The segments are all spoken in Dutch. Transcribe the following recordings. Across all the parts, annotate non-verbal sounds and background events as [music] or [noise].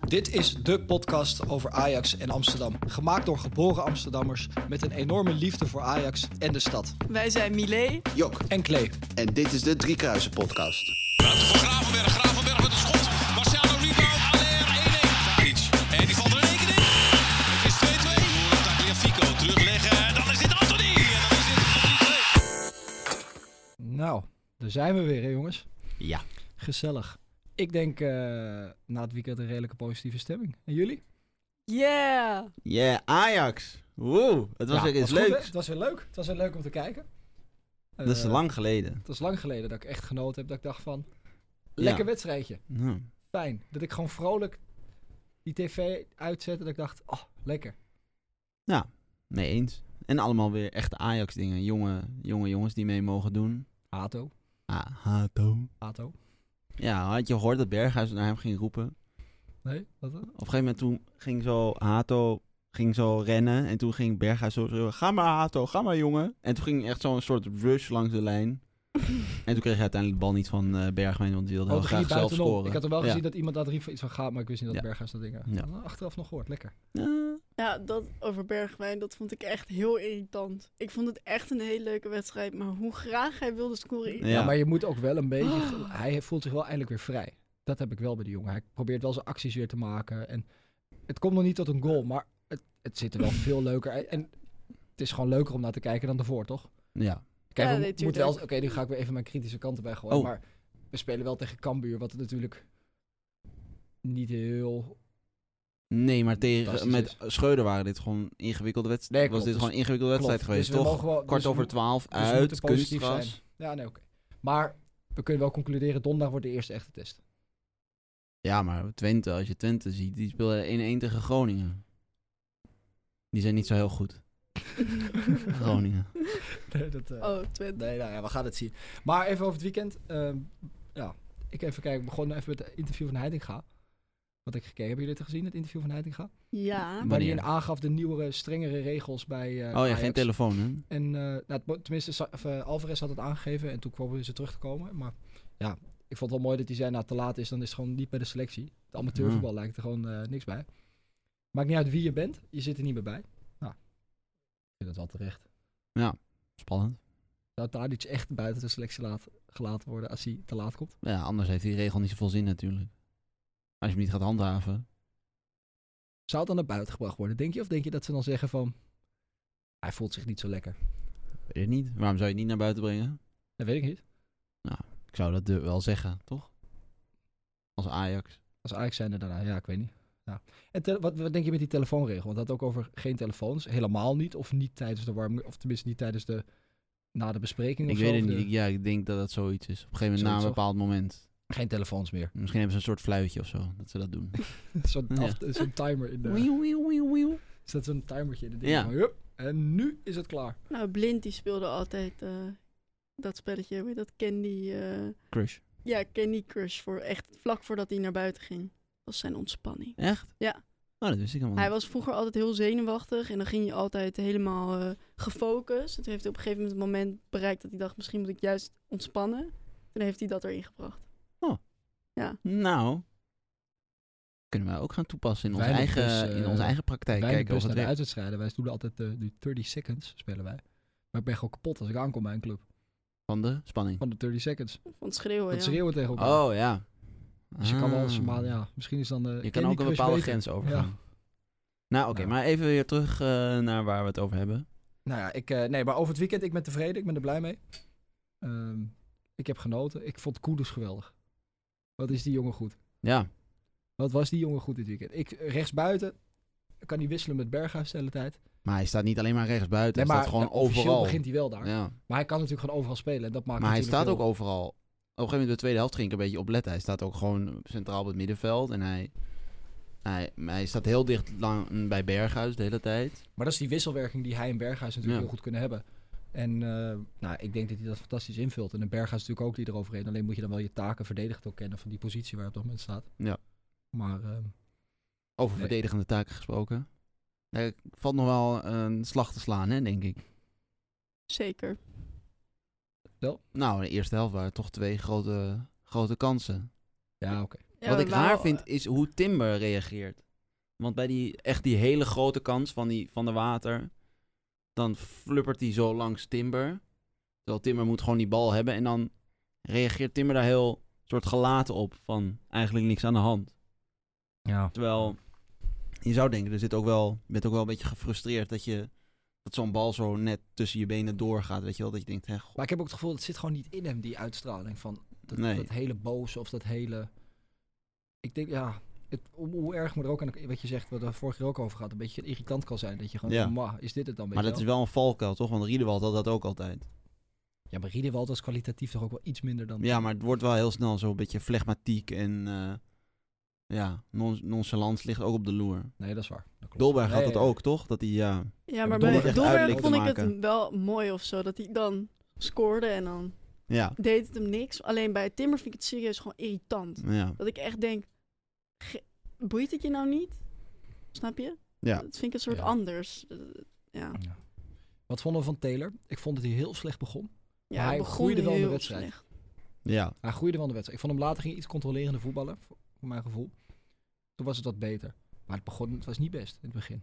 Dit is de podcast over Ajax en Amsterdam. Gemaakt door geboren Amsterdammers met een enorme liefde voor Ajax en de stad. Wij zijn Milé. Jok. En Klee. En dit is de Driekruisen podcast. Ruimte voor Gravenberg. Gravenberg met een schot. Marciano rebound. Aller 1-1. Tadic. En die valt er in één keer in. Het is 2-2. Daar Fico terugleggen. En dan is dit Anthony. En dan is dit 3-2. Nou, daar zijn we weer, hè, jongens. Ja. Gezellig. Ik denk eh, na het weekend een redelijke positieve stemming. En jullie? Yeah. Yeah, Ajax. Woe, het was Ja, weer iets goed, hè? leuks. Het was weer leuk. Het was weer leuk om te kijken. dat is Eh, lang geleden. Het was lang geleden dat ik echt genoten heb. Dat ik dacht van, lekker Ja. wedstrijdje. Nou, Fijn. Dat ik gewoon vrolijk die tv uitzette. Dat ik dacht, oh, lekker. mee eens. En allemaal weer echte Ajax dingen. Jonge, jonge jongens die mee mogen doen. Hato. Ah, Hato. Hato. Ja, had je gehoord dat Berghuis naar hem ging roepen? Op Nee? Wat dan? een gegeven moment toen ging zo Hato ging zo rennen. En toen ging Berghuis zo schreeuwen, Ga maar Hato, ga maar jongen. En toen ging echt zo'n soort rush langs [laughs] de lijn. en toen kreeg hij uiteindelijk de bal niet van eh Bergwijn. Want die wilde Oh, heel het ging graag zelf buitenom. scoren. Ik had er wel Ja. gezien dat iemand daar drie iets van gaat, maar ik wist niet dat Ja. Berghuis dat ding had. Oh, Ja. Achteraf nog gehoord, lekker. Ah. Ja, dat over Bergwijn, dat vond ik echt heel irritant. Ik vond het echt een hele leuke wedstrijd, maar hoe graag hij wilde scoren. Ja. Ja. maar je moet ook wel een beetje... Oh. Hij voelt zich wel eindelijk weer vrij. Dat heb ik wel bij de jongen. Hij probeert wel zijn acties weer te maken. En het komt nog niet tot een goal, maar het, het zit er wel veel leuker uit. En het is gewoon leuker om naar te kijken dan ervoor, toch? ja. Kijk, Ja, we nee, moeten tuurlijk. wel... Oké, nu ga ik weer even mijn kritische kanten bij gooien. Oh. Maar we spelen wel tegen Cambuur, wat natuurlijk niet heel... Nee, maar tegen, Fantastisch met Schreuder waren dit gewoon ingewikkelde wedstrijden. Nee, klopt. Dus was dit gewoon een ingewikkelde wedstrijd Klopt. geweest, Dus we toch? mogen wel- dus Kwart we over mo- twaalf, we uit, moeten positief kunstgras. zijn. Ja, nee, oké. Maar we kunnen wel concluderen, donderdag wordt de eerste echte test. Ja, maar Twente, als je Twente ziet, die speelden 1-1 tegen Groningen. Die zijn niet zo heel [laughs] goed, Groningen. Nee, dat, eh, [laughs] Oh, Twente. Nee, nou ja, we gaan het zien. Maar even over het weekend. Ehm, ja, ik even kijken. Ik begon even met het interview van Heitinga. Wat ik gekeken. Hebben jullie het gezien, het interview van Heitinga? Ja. Waar hij Wanneer? in aangaf de nieuwere, strengere regels bij eh, oh ja, Ajax. geen telefoon, hè? En eh, nou, het mo- tenminste, Sa- of, eh, Alvarez had het aangegeven en toen kwam ze terug te komen. Maar ja, ik vond het wel mooi dat hij zei, nou te laat is, dan is het gewoon niet bij de selectie. Het amateurvoetbal lijkt er gewoon eh, niks bij. Maakt niet uit wie je bent, je zit er niet meer bij. Nou, ik vind het wel terecht. Spannend. Dat Tadic echt buiten de selectie laat, gelaten worden als hij te laat komt. Ja, anders heeft die regel niet zoveel zin natuurlijk. Als je hem niet gaat handhaven. Zou het dan naar buiten gebracht worden, denk je? Of denk je dat ze dan zeggen van, hij voelt zich niet zo lekker? Weet ik niet. Waarom zou je het niet naar buiten brengen? Dat weet ik niet. Ik zou dat eh, wel zeggen, toch? Als Ajax. Als Ajax zijn er daarna, ja, ik weet niet. Ja. En te- wat, wat denk je met die telefoonregel? Want dat had ook over geen telefoons, helemaal niet. Of niet tijdens de warming, of tenminste niet tijdens de, na de bespreking Ik of zo, weet het of de- niet. Ik- Ja, ik denk dat dat zoiets is. Op een gegeven moment, na Zoiets, een toch? bepaald moment. Geen telefoons meer. [laughs] Misschien hebben ze een soort fluitje of zo, dat ze dat doen. Zo'n Ja. af- zo'n timer in de... Wieuw, wieuw, wieuw, wieuw. Is dat zo'n timertje in de ding? Ja. Van, hup, en nu is het klaar. Nou, Blind die speelde altijd eh, dat spelletje, weet je dat Candy, eh, Crush. ja, Candy Crush, voor echt vlak voordat hij naar buiten ging. Dat was zijn ontspanning. Echt? Ja. Oh, dat wist ik helemaal Hij niet. was vroeger altijd heel zenuwachtig en dan ging hij altijd helemaal eh, gefocust. En toen heeft hij op een gegeven moment een moment bereikt dat hij dacht, misschien moet ik juist ontspannen. En dan heeft hij dat erin gebracht. Nou, kunnen wij ook gaan toepassen in onze, Wij hebben eigen, dus, eh, in onze eigen praktijk. wij Kijken kijken of dus het naar de werkt. uitwedstrijden. Wij doen altijd eh, die 30 seconds spelen wij. Maar ik ben gewoon kapot als ik aankom bij een club. Van de spanning. Van de 30 seconds. Van het schreeuwen, Dat ja. schreeuwen tegen elkaar. Oh, ja. Dus je kan wel Ah. eens, maar ja, misschien is dan eh, de Je kan ook een bepaalde grens overgaan. Nou, oké. Ja. Maar even weer terug eh, naar waar we het over hebben. Nou ja, ik, eh, nee, maar over het weekend, ik ben tevreden. Ik ben er blij mee. Ehm, ik heb genoten. Ik vond Koeders geweldig. Wat is die jongen goed? Ja. Wat was die jongen goed dit weekend? Ik, rechtsbuiten kan hij wisselen met Berghuis de hele tijd. Maar hij staat niet alleen maar rechts buiten. Nee, hij maar staat gewoon eh, officieel overal. begint hij wel daar. ja. Maar hij kan natuurlijk gewoon overal spelen. En dat maakt Maar hij natuurlijk staat ook heel- overal. Op een gegeven moment, de tweede helft ging ik een beetje opletten. Hij staat ook gewoon centraal op het middenveld. En hij, hij, hij staat heel dicht lang bij Berghuis de hele tijd. Maar dat is die wisselwerking die hij en Berghuis natuurlijk Ja. heel goed kunnen hebben. En eh, nou, ik denk dat hij dat fantastisch invult. En een Berghuis natuurlijk ook die eroverheen. Alleen moet je dan wel je taken verdedigend ook kennen van die positie waar je op dat moment staat. Ja. Maar ehm, Over Nee. verdedigende taken gesproken. Daar valt nog wel een slag te slaan, hè, denk ik. Zeker. Nou, in de eerste helft waren toch twee grote, grote kansen. ja, oké. Ja, eh, Wat we ik wou- raar vind is hoe Timber reageert. Want bij die, echt die hele grote kans van, die, van de water, dan flippert hij zo langs Timber. Terwijl Timber moet gewoon die bal hebben. En dan reageert Timber daar heel soort gelaten op van eigenlijk niks aan de hand. Ja. Terwijl je zou denken, er zit ook wel, je bent ook wel een beetje gefrustreerd dat je dat zo'n bal zo net tussen je benen doorgaat. Weet je wel, dat je denkt, hè, god, Maar ik heb ook het gevoel, het zit gewoon niet in hem, die uitstraling van dat, Nee. dat hele boze of dat hele... Ik denk, ja, het, hoe, hoe erg moet er ook aan, wat je zegt, wat we vorige keer ook over gehad, een beetje irritant kan zijn. Dat je gewoon, Ja. ja. is dit het dan? weet maar je dat is wel? wel een valkuil, toch? Want Riedewald had dat ook altijd. Ja, maar Riedewald was kwalitatief toch ook wel iets minder dan... Ja, maar het wordt wel heel snel zo'n beetje flegmatiek en eh ja, non nonchalance ligt ook op de loer. Nee, dat is waar. Dat klopt. Dolberg had Nee, dat ook, toch? Dat hij, ja, Ja, maar bij bedoel dat echt Dolberg duidelijk te vond ik het maken. wel mooi of zo. Dat hij dan scoorde en dan ja, deed het hem niks. Alleen bij Timmer vind ik het serieus gewoon irritant. Mm. ja. Dat ik echt denk, ge- boeit het je nou niet? Snap je? Ja. Dat vind ik een soort Ja. anders. Eh, Ja, Ja. Wat vonden we van Taylor? Ik vond dat hij heel slecht begon. ja hij het begon groeide wel in de heel wedstrijd. slecht. ja. Hij groeide van de wedstrijd. Ik vond hem later ging iets controlerende voetballen, voor voor mijn gevoel. Toen was het wat beter. Maar het, begon, het was niet best in het begin.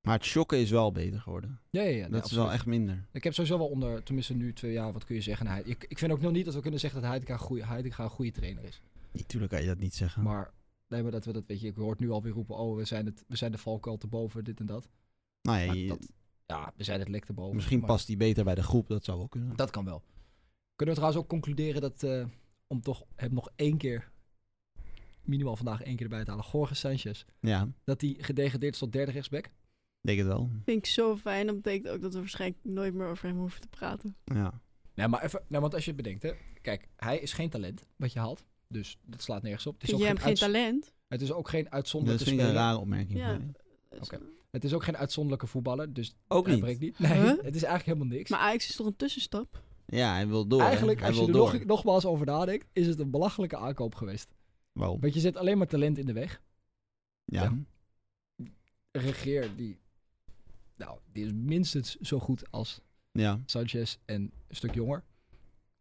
Maar het shocken is wel beter geworden. Ja, ja, ja. nee, dat is wel absoluut. echt minder. Ik heb sowieso wel onder, tenminste nu twee jaar, wat kun je zeggen. Hij, ik, ik vind ook nog niet dat we kunnen zeggen dat Heidegger een goede, Heitinga een goede trainer is. Natuurlijk kan je dat niet zeggen. Maar, nee, maar dat we dat, weet je, ik hoor het nu alweer roepen, oh, we zijn, het, we zijn de valkuil te boven, dit en dat. nou ja, Maar je- dat ja, we zijn het lek te boven. misschien maar past hij beter bij de groep, dat zou wel kunnen. Dat kan wel. Kunnen we trouwens ook concluderen dat, eh, om toch hem nog één keer, minimaal vandaag één keer erbij te halen, Jorge Sanchez, Ja, dat hij gedegradeerd is tot derde rechtsback? denk het wel. Vind ik zo fijn. Dat betekent ook dat we waarschijnlijk nooit meer over hem hoeven te praten. Ja. Nee, maar even, nou, want als je het bedenkt, hè. Kijk, hij is geen talent, wat je haalt. Dus dat slaat nergens op. Het is Vind ook jij hem geen, geen uits- talent? het is ook geen Dat uitzonderlijke vind ik een speler. rare opmerking. Ja. van je. Dus, Oké. eh, Het is ook geen uitzonderlijke voetballer, dus Ook hij niet. breekt niet. Nee, Huh? het is eigenlijk helemaal niks. Maar Ajax is toch een tussenstap? Ja, hij wil door. hè? eigenlijk, hij als je wil er door. nog, nogmaals over nadenkt, is het een belachelijke aankoop geweest. Waarom? Want je zet alleen maar talent in de weg. Ja. Ja. Regeer, die, nou, die is minstens zo goed als Ja. Sanchez en een stuk jonger. Ik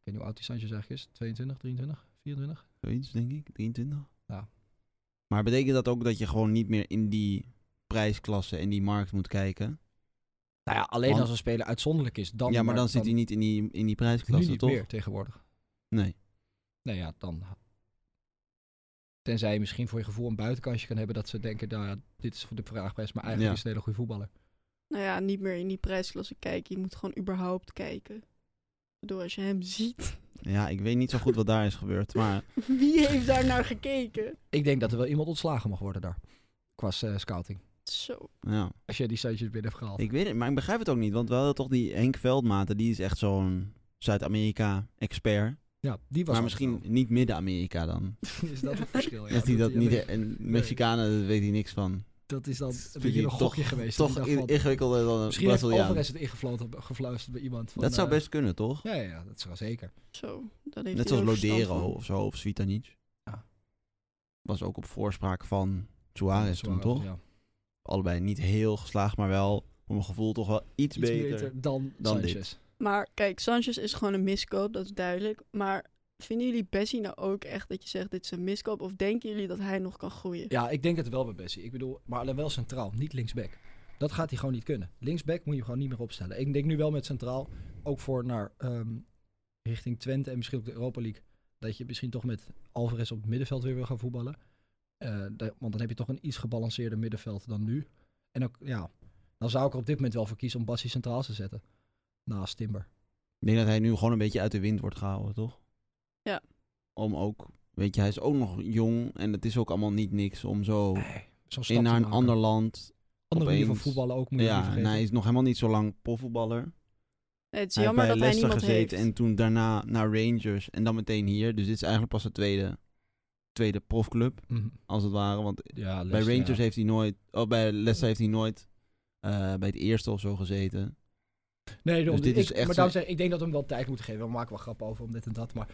weet niet hoe oud die Sanchez eigenlijk is. 22, 23, 24? Zoiets, denk ik. 23. Ja. Maar betekent dat ook dat je gewoon niet meer in die prijsklasse en die markt moet kijken? Nou ja, alleen Want- als een speler uitzonderlijk is. Dan ja, maar dan zit hij hij niet in die, in die nu prijsklasse, niet toch? meer tegenwoordig. Nee. Nou ja, dan... Tenzij je misschien voor je gevoel een buitenkansje kan hebben... dat ze denken, nou ja, dit is voor de vraagprijs... maar eigenlijk is Ja. het een hele goede voetballer. Nou ja, niet meer in die prijsklasse kijken. Je moet gewoon überhaupt kijken. Door als je hem ziet. [laughs] Ja, ik weet niet zo goed wat daar is [laughs] gebeurd. Maar Wie heeft daar naar gekeken? Ik denk dat er wel iemand ontslagen mag worden daar. Qua eh, scouting. Zo. ja, Als jij die Sanchez binnen hebt gehaald. ik weet het. Maar ik begrijp het ook niet. Want we hadden toch die Henk Veldmaten. Die is echt zo'n Zuid-Amerika-expert. Ja, die was Maar al misschien niet Midden-Amerika dan. gekomen. [laughs] is dat [laughs] het verschil. Ja. dat hij dat niet... alleen- En Mexicanen, dat weet hij niks van. Dat is dan Vind een beetje ik een toch- gokje geweest. Toch Die dacht van, in- ingewikkelder dan een misschien heeft Braziliaan. Alvarez het ingefloten, gefluisterd bij iemand. Van, Dat zou eh, best kunnen, toch? Ja, ja, ja, dat zou zeker. Zo, dat heeft Net hij zoals ook verstand Lodero van. of zo, of Svitanic. Ja. Was ook op voorspraak van Suarez toen, Suarez, toch? ja. Allebei niet heel geslaagd, maar wel, voor mijn gevoel, toch wel Iets iets, beter. beter, dan, dan dit. Sanchez. Maar kijk, Sanchez is gewoon een miskoop, dat is duidelijk. Maar vinden jullie Bessie nou ook echt dat je zegt dit is een miskoop? Of denken jullie dat hij nog kan groeien? Ja, ik denk het wel bij Bessie. Ik bedoel, maar alleen wel centraal, niet linksback. Dat gaat hij gewoon niet kunnen. Linksback moet je gewoon niet meer opstellen. Ik denk nu wel met centraal, ook voor naar ehm, richting Twente en misschien ook de Europa League, dat je misschien toch met Alvarez op het middenveld weer wil gaan voetballen. Eh, da- want dan heb je toch een iets gebalanceerder middenveld dan nu. En ook, ja, dan zou ik er op dit moment wel voor kiezen om Bassi centraal te zetten. Naast Timber. Ik denk dat hij nu gewoon een beetje uit de wind wordt gehouden, toch? Ja. Om ook, weet je, hij is ook nog jong en het is ook allemaal niet niks om zo Zo'n stap Oh. in naar te een maken. ander land. andere manier van opeens. voetballen ook moet je niet Ja, en vergeten. hij is nog helemaal niet zo lang Nee, profvoetballer. het is Hij heeft jammer bij dat hij Leicester niemand heeft. gezeten en toen daarna naar Rangers en dan meteen hier. Dus dit is eigenlijk pas de tweede, tweede profclub, Mhm. als het ware. Want Ja, bij Leicester, Rangers ja. heeft hij nooit, oh, bij Leicester heeft hij nooit eh, bij het eerste of zo gezeten. Nee, daarom. Dus dit ik, is echt maar daarom zo- zeg, ik ik denk dat we hem wel tijd moeten geven. We maken wel grappen over om dit en dat. Maar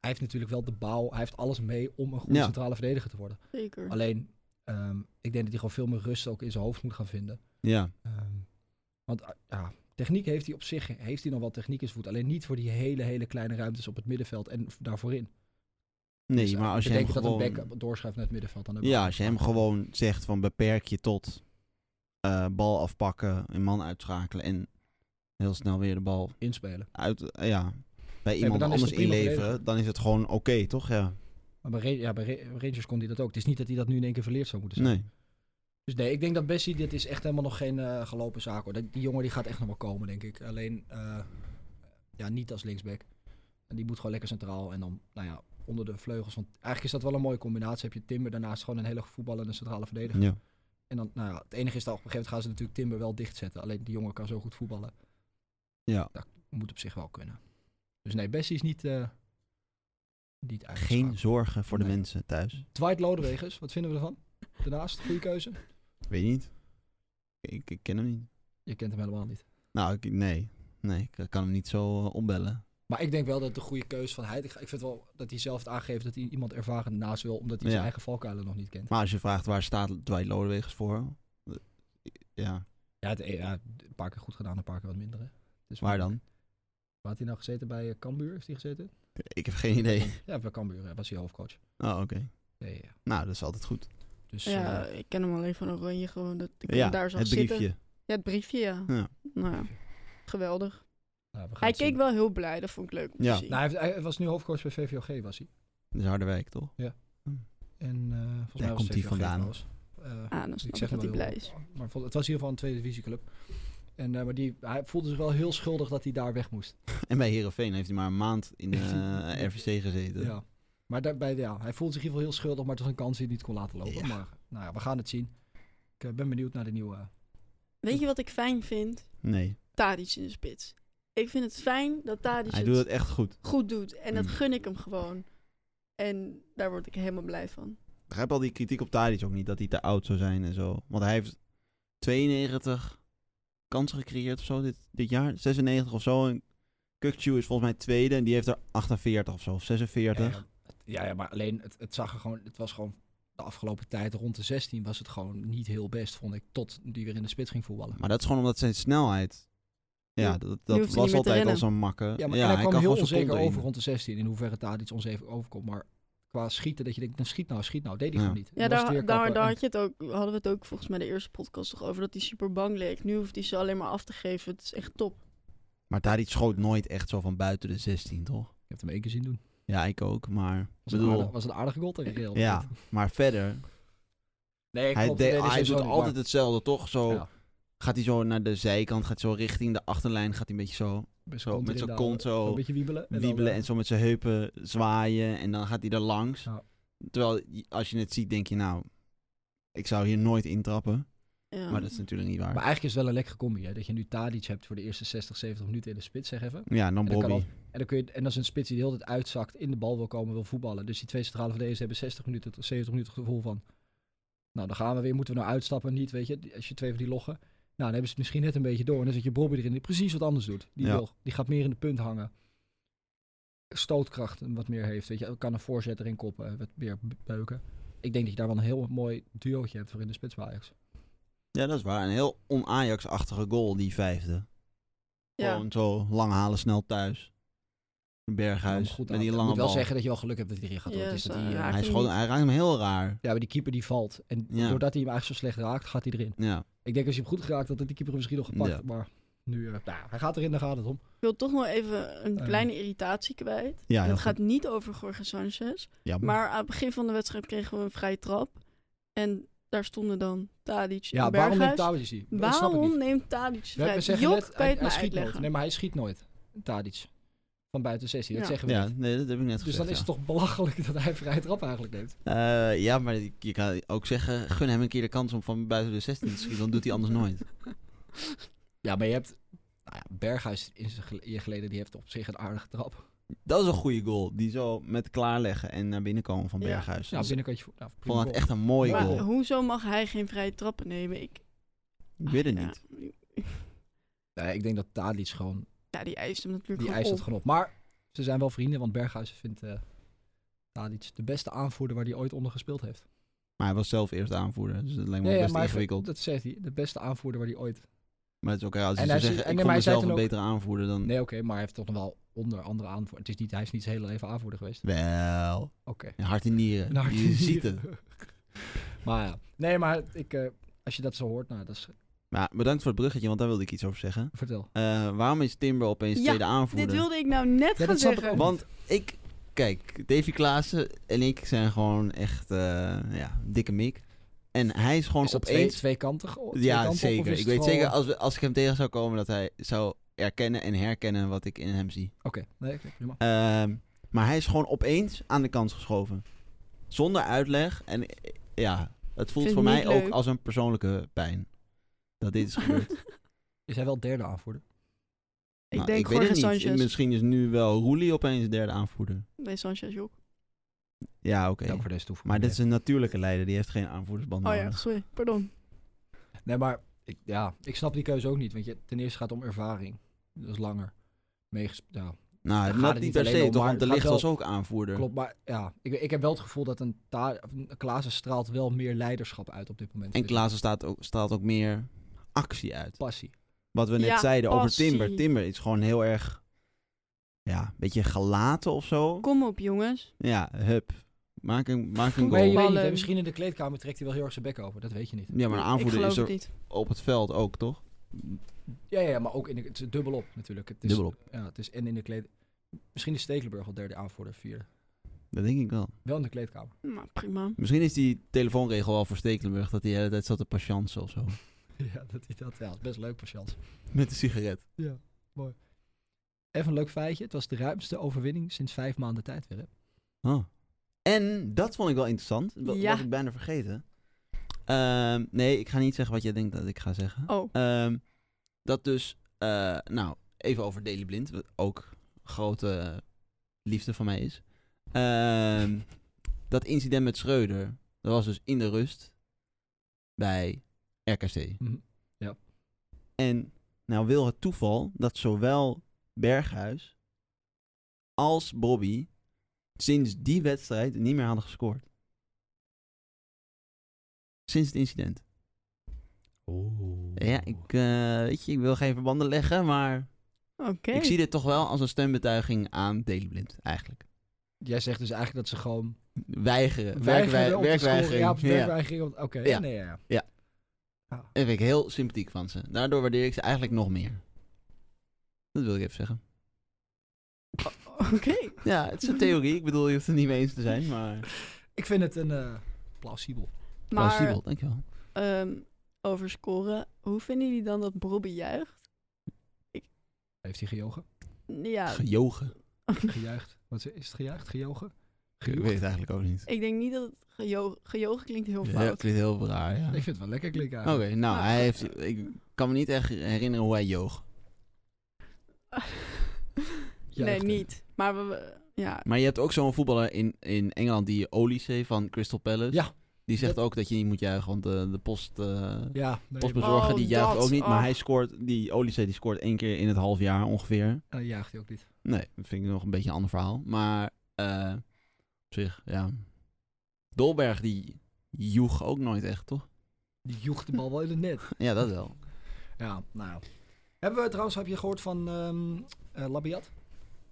hij heeft natuurlijk wel de bouw. Hij heeft alles mee om een goede Ja. centrale verdediger te worden. Zeker. Alleen, ehm, ik denk dat hij gewoon veel meer rust ook in zijn hoofd moet gaan vinden. Ja, Ehm, want ah, ja, techniek heeft hij op zich heeft hij nog wel techniek in zijn voet. Alleen niet voor die hele, hele kleine ruimtes op het middenveld en v- daarvoor in. Nee, Dus, eh, maar als je hem betekent gewoon... dat een back doorschuift naar het middenveld. Dan heb je Ja, het. als je hem gewoon zegt van beperk je tot eh, bal afpakken, een man uitschakelen en heel snel weer de bal inspelen. uit, eh, ja, bij iemand dan is het anders prima inleveren, verdedigd. dan is het gewoon oké, toch? Ja. Maar bij, Ra- ja, bij Ra- Rangers kon hij dat ook. Het is niet dat hij dat nu in één keer verleerd zou moeten zijn. Nee. Dus nee, ik denk dat Bessie, dit is echt helemaal nog geen eh, gelopen zaak hoor. Dat- Die jongen die gaat echt nog wel komen, denk ik. Alleen, eh, ja, niet als linksback. En die moet gewoon lekker centraal en dan, nou ja, onder de vleugels. Want eigenlijk is dat wel een mooie combinatie. Heb je Timber daarnaast gewoon een hele voetballer en een centrale verdediger. Ja. En dan, nou ja, het enige is dat op een gegeven moment gaan ze natuurlijk Timber wel dichtzetten. Alleen die jongen kan zo goed voetballen. ja. Moet op zich wel kunnen. Dus nee, Bessie is niet, eh niet uitgeschakeld. Geen zorgen voor de Nee. mensen thuis. Dwight Lodeweges, wat vinden we ervan? Daarnaast, goede keuze. Weet niet. Ik, ik ken hem niet. Je kent hem helemaal niet. Nou, ik, nee. Nee, ik kan hem niet zo eh, opbellen. Maar ik denk wel dat de goede keuze van hij. Ik ik vind wel dat hij zelf het aangeeft dat hij iemand ervaren naast wil, omdat hij Ja. zijn eigen valkuilen nog niet kent. Maar als je vraagt waar staat Dwight Lodewegens voor? eh, Ja, Ja, het, ja, een paar keer goed gedaan, een paar keer wat minder. Hè. Dus waar dan? Waar had hij nou gezeten? Bij eh, Cambuur heeft hij gezeten? Ik heb [laughs] geen idee. Ja, bij Cambuur eh, was hij hoofdcoach. Oh, oké. Ja, ja, ja. Nou, dat is altijd goed. Dus Ja, eh, ik ken hem alleen van Oranje gewoon. Dat ik hem Ja, daar zag het briefje. zitten. Ja, het briefje, ja. Ja. Nou ja, geweldig. nou, we gaan Hij het zien. keek wel heel blij, dat vond ik leuk om Ja. te zien. Nou, hij, heeft- hij was nu hoofdcoach bij VVOG, was hij. Dat is Harderwijk, toch? En eh, volgens mij Daar was komt hij VVOG vandaan. trouwens. Eh, ah, dan snap Ik ik, zeg dat wel hij blij heel- is. Maar vol- het was in ieder geval een tweede divisieclub. En, eh, maar die, hij voelde zich wel heel schuldig dat hij daar weg moest. En bij Herenveen heeft hij maar een maand [laughs] in de eh, RVC gezeten. Ja. Maar daarbij, ja, hij voelde zich in ieder geval heel schuldig, maar het was een kans die hij niet kon laten lopen. Ja. Maar nou ja, we gaan het zien. Ik eh, ben benieuwd naar de nieuwe. Weet je wat ik fijn vind? Nee, Tadic in de spits. Ik vind het fijn dat Tadic hij het doet het echt goed. goed doet. En dat Mm. gun ik hem gewoon. En daar word ik helemaal blij van. Ik begrijp al die kritiek op Tadic ook niet, dat hij te oud zou zijn en zo. Want hij heeft 92 kansen gecreëerd of zo dit, dit jaar. 96 of zo. En Kukcu is volgens mij tweede en die heeft er 48 of zo, of 46. Ja, ja, ja, maar alleen het, het zag er gewoon, het was gewoon de afgelopen tijd rond de 16 was het gewoon niet heel best, vond ik, tot die weer in de spits ging voetballen. Maar dat is gewoon omdat zijn snelheid... Ja, Ja, dat, hoeft hij dat niet meer was te altijd al rennen. zo'n makke. Ja, maar en hij kwam eh, kan heel gewoon zijn onzeker kont over erin. rond de 16 in hoeverre daar iets onzeker overkomt. Maar qua schieten, dat je denkt, nou schiet nou, schiet nou, deed hij Ja. gewoon niet. Ja, Dan was het daar, weer daar, kappen. daar En- had je het ook, hadden we het ook volgens mij de eerste podcast toch over. Dat hij super bang leek. Nu hoeft hij ze alleen maar af te geven. Het is echt top. Maar Tadic schoot nooit echt zo van buiten de 16, toch? Ik heb hem één keer zien doen. Ja, ik ook, maar... Was, een, bedoel, aardig- was een aardige goal tegen Real. ja, maar verder... Nee, Hij, klopt, de- nee, dat is hij doet sowieso altijd niet, hetzelfde, toch? Zo, maar- Ja, Gaat hij zo naar de zijkant, gaat zo richting de achterlijn, gaat hij een beetje zo, met zo met zijn erin kont houden, Een zo beetje wiebelen. dan, wiebelen eh, en zo met zijn heupen zwaaien en dan gaat hij er langs. Ja. Terwijl je- als je het ziet, denk je nou, ik zou hier nooit intrappen. Ja. Maar dat is natuurlijk niet waar. Maar eigenlijk is het wel een lekkere combi, hè. Dat je nu Tadic hebt voor de eerste 60, 70 minuten in de spits, zeg even. ja, en dan En dat kan Bobby. En dan, kun je, en dan is een spits die de hele tijd uitzakt, in de bal wil komen, wil voetballen. Dus die twee centrale verdedigers hebben 60 minuten tot 70 minuten het gevoel van... Nou, dan gaan we weer. Moeten we nou uitstappen? Niet, weet je. Die- Als je twee van die loggen. Nou, dan hebben ze het misschien net een beetje door. En dan zit je Bobby erin die precies wat anders doet. Die, Ja. wil, die gaat meer in de punt hangen. Stootkracht wat meer heeft. Weet je, kan een voorzet erin koppen. eh, Wat meer beuken. Ik denk dat je daar wel een heel mooi duootje hebt voor in de spits bij Ajax. Ja, dat is waar. Een heel on-Ajax-achtige goal, die vijfde. Gewoon zo lang halen, snel thuis. Berghuis, Om goed met aan- die Ik lange moet wel bal. zeggen dat je wel geluk hebt dat hij erin gaat. hoor. Ja, Het is zo, dat hij, eh, ja. hij, Raakt schoot, hem niet. hij raakt hem heel raar. ja, maar die keeper die valt. En Ja. doordat hij hem eigenlijk zo slecht raakt, gaat hij erin. Ja. Ik denk als je hem goed geraakt had, had die keeper hem misschien nog gepakt. Ja. Maar nu, eh, nou, hij gaat erin, daar gaat het om. Ik wil toch nog even een Eh. kleine irritatie kwijt. En Ja, heel het goed. gaat niet over Jorge Sanchez. Jammer. Maar aan het begin van de wedstrijd kregen we een vrije trap. En daar stonden dan Tadic en Ja, waarom Berghuis. neemt Tadic die? Dat snap ik Waarom niet. neemt Tadic We, de we vrije trap? zeggen Job, net, kan je hij, het hij mij schiet nooit. uitleggen? Nee, maar hij schiet nooit, Tadic. Van buiten 16, dat Ja. zeggen we Ja, niet. nee, dat heb ik net Dus gezegd. dan is ja. het toch belachelijk [laughs] dat hij vrije trap eigenlijk neemt. Eh, ja, maar je kan ook zeggen, gun hem een keer de kans om van buiten de 16 te schieten, dan doet hij anders nooit. Ja, maar je hebt... Nou ja, Berghuis in zijn gel- jaar geleden, die heeft op zich een aardige trap. Dat is een goede goal, die zo met klaarleggen en naar binnen komen van Ja. Berghuis. Ja, Dus ik binnenkantje... voet- Nou, prima vond het goal. echt een mooie Maar- goal. Hoezo mag hij geen vrije trappen nemen? Ik, Ik weet het ja. niet. Nee, ik denk dat Tadic gewoon... Ja, die eist hem natuurlijk Die gewoon eist het op. gewoon op. Maar ze zijn wel vrienden, want Berghuis vindt eh Tadic de beste aanvoerder waar hij ooit onder gespeeld heeft. Maar hij was zelf eerst aanvoerder, dus dat lijkt me Ja, ja, best maar hij- ingewikkeld. Dat zegt hij. De beste aanvoerder waar hij ooit Maar het is ook raar. Als En je hij zou zei- zeggen, en ik nee, maar hij vond zei mezelf een toen ook- betere aanvoerder dan... Nee, oké, maar hij heeft toch nog wel onder andere aanvoer. Het is niet, hij is niet zijn hele leven aanvoerder geweest. Wel. [laughs] Oké. Ja, hart en nieren. Nou, je ziet het. [laughs] maar ja. Nee, maar ik, eh, als je dat zo hoort, nou, dat is... Maar bedankt voor het bruggetje, want daar wilde ik iets over zeggen. Vertel. Eh, waarom is Timber opeens Ja, tweede aanvoerder? Dit wilde ik nou net Ja, gaan dat snap ik zeggen. ook. Want ik... Kijk, Davy Klaassen en ik zijn gewoon echt... eh, ja, dikke mik. En hij is gewoon Is dat twee, opeens... tweekantig? Oh, ja, tweekant op, of zeker. is Ik het weet gewoon- zeker, als, we- als ik hem tegen zou komen, dat hij zou erkennen en herkennen wat ik in hem zie. Oké, nee, oké, prima. Ehm, maar hij is gewoon opeens aan de kant geschoven. Zonder uitleg. En eh, ja, het voelt Vind voor ik mij niet ook leuk. als een persoonlijke pijn. Dat dit [laughs] is gebeurd. Is hij wel derde aanvoerder? Ik Nou, denk weet Jorge het niet. Sanchez. Misschien is nu wel Roelie opeens derde aanvoerder. Nee, Sanchez ook. Ja, oké. Dank voor deze toevoeging. Maar dit is een natuurlijke leider. Die heeft geen aanvoerdersband Oh ja, nodig. sorry. Pardon. Nee, maar ik, ja, ik snap die keuze ook niet. Want je, ten eerste gaat het om ervaring. Dat is langer. Meeges- ja, gaat Nou, het dat niet niet per alleen se. om, Toch, maar want de het licht gaat was ook aanvoerder. klopt, maar ja. Ik, ik heb wel het gevoel dat een, ta- of een Klaassen straalt wel meer leiderschap uit op dit moment. En Dus Klaassen staat ook, staat ook meer actie uit. Passie. Wat we net Ja, zeiden passie. over Timber. Timber is gewoon heel erg... Ja, een beetje gelaten of zo. Kom op, jongens. Ja, hup. Maak een, maak een Goed. Maar je weet goal. niet, hè, Ballen. misschien in de kleedkamer trekt hij wel heel erg zijn bek over. Dat weet je niet. Ja, maar een ik aanvoerder geloof is het er niet. op het veld ook, toch? Ja, ja, ja, maar ook in de, het is dubbel op natuurlijk. Het is, Dubbel op. Ja, het is en in de kleed. Misschien is Stekelenburg wel derde aanvoerder, vierde. Dat denk ik wel. Wel in de kleedkamer. [laughs] Maar Nou, prima. Misschien is die telefoonregel wel voor Stekelenburg dat hij de hele tijd zat te patiënten of zo. [laughs] ja, dat hij dat. Ja, dat is best leuk voor Chelsea. Met een sigaret. Ja, mooi. Even een leuk feitje. Het was de ruimste overwinning sinds vijf maanden tijd weer. Hè? Oh. En dat vond ik wel interessant. Wat Ja. was ik bijna vergeten. Ehm, nee, ik ga niet zeggen wat jij denkt dat ik ga zeggen. Oh, Ehm, dat dus, eh, nou, even over Daily Blind, wat ook grote eh, liefde van mij [laughs] is. Ehm, dat incident met Schreuder, dat was dus in de rust bij RKC. Mhm, ja. En nou wil het toeval dat zowel Berghuis als Bobby sinds die wedstrijd niet meer hadden gescoord. Sinds het incident. Ja, ik, eh, weet je, ik wil geen verbanden leggen, maar oké. ik zie dit toch wel als een stembetuiging aan Daily Blind, eigenlijk. Jij zegt dus eigenlijk dat ze gewoon Weigeren, weigerden werkweigering. om te scoren. Ja, werkweigering. op Ja, werkweigering. om- Oké, Ja. nee, ja, ja. Daar ben ik heel sympathiek van ze. Daardoor waardeer ik ze eigenlijk nog meer. Dat wil ik even zeggen. [laughs] Oké. Ja, het is een theorie. Ik bedoel, je hoeft het niet mee eens te zijn, maar... Ik vind het een eh, plausibel. Maar Plausibel, dankjewel. ehm over scoren. Hoe vinden jullie dan dat Bobby juicht? Heeft hij gejogen? Ja, Gejogen. Gejuicht? Wat is is het gejuicht? Gejogen? Ik weet het eigenlijk ook niet. [laughs] ik denk niet dat het gejo- gejogen klinkt heel Ja, het fout. klinkt heel raar, ja. Ik vind het wel lekker klinken Oké, eigenlijk. nou, hij heeft... Ik kan me niet echt herinneren hoe hij joog. nee, [laughs] Juicht, hè. niet. Maar we- we, ja, Maar je hebt ook zo'n voetballer in, in Engeland, die Olise van Crystal Palace. Ja. Die zegt Dat- ook dat je niet moet juichen, want de, de post, eh, Ja, nee, postbezorger Oh, die juicht dat, ook niet. Maar oh. hij scoort, die Olise die scoort één keer in het half jaar ongeveer. maar- eh, jaagt hij ook niet. Nee, dat vind ik nog een beetje een ander verhaal. Maar eh, op zich, ja. Dolberg die joeg ook nooit echt, toch? Die joegt de bal wel in het net. Ja, dat wel. Ja, nou ja. Hebben we trouwens, heb je gehoord van ehm eh, Labiat?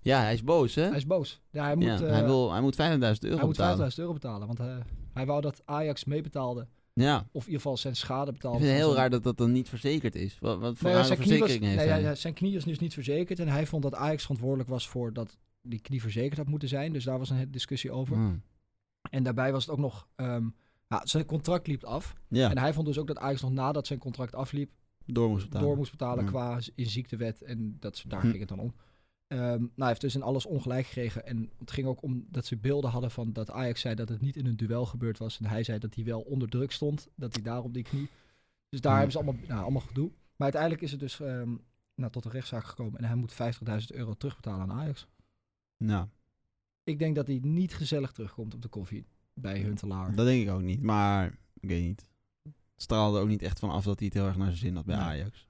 Ja, hij is boos, hè? Hij is boos. Ja, hij moet, ja, eh, hij, wil, hij moet 2500 euro hij moet betalen. 5000 euro betalen. Want eh, hij wou dat Ajax meebetaalde. Ja, Of in ieder geval zijn schade ik betaalde. vind het van heel zijn- raar dat dat dan niet verzekerd is. Wat, wat voor Nee, rare zijn, knie was, verzekering heeft nee, hij? ja, ja, zijn knie is dus niet verzekerd. En hij vond dat Ajax verantwoordelijk was voor dat die knie verzekerd had moeten zijn. Dus daar was een hele discussie over. Hmm. En daarbij was het ook nog... ehm, ja, zijn contract liep af. Ja, En hij vond dus ook dat Ajax nog nadat zijn contract afliep... door moest betalen. door moest betalen Ja. qua z- in ziektewet. En dat, ze- daar Hm. ging het dan om. Ehm, nou, hij heeft dus in alles ongelijk gekregen. En het ging ook om dat ze beelden hadden van dat Ajax zei dat het niet in een duel gebeurd was. En hij zei dat hij wel onder druk stond. Dat hij daarop die knie. Dus daar Hm. hebben ze allemaal, nou, allemaal gedoe. Maar uiteindelijk is het dus ehm, nou, tot een rechtszaak gekomen. En hij moet 50.000 euro terugbetalen aan Ajax. Nou, Ik denk dat hij niet gezellig terugkomt op de koffie bij Huntelaar. dat denk ik ook niet. Maar ik weet niet. Het straalde ook niet echt van af dat hij het heel erg naar zijn zin had bij Nee. Ajax.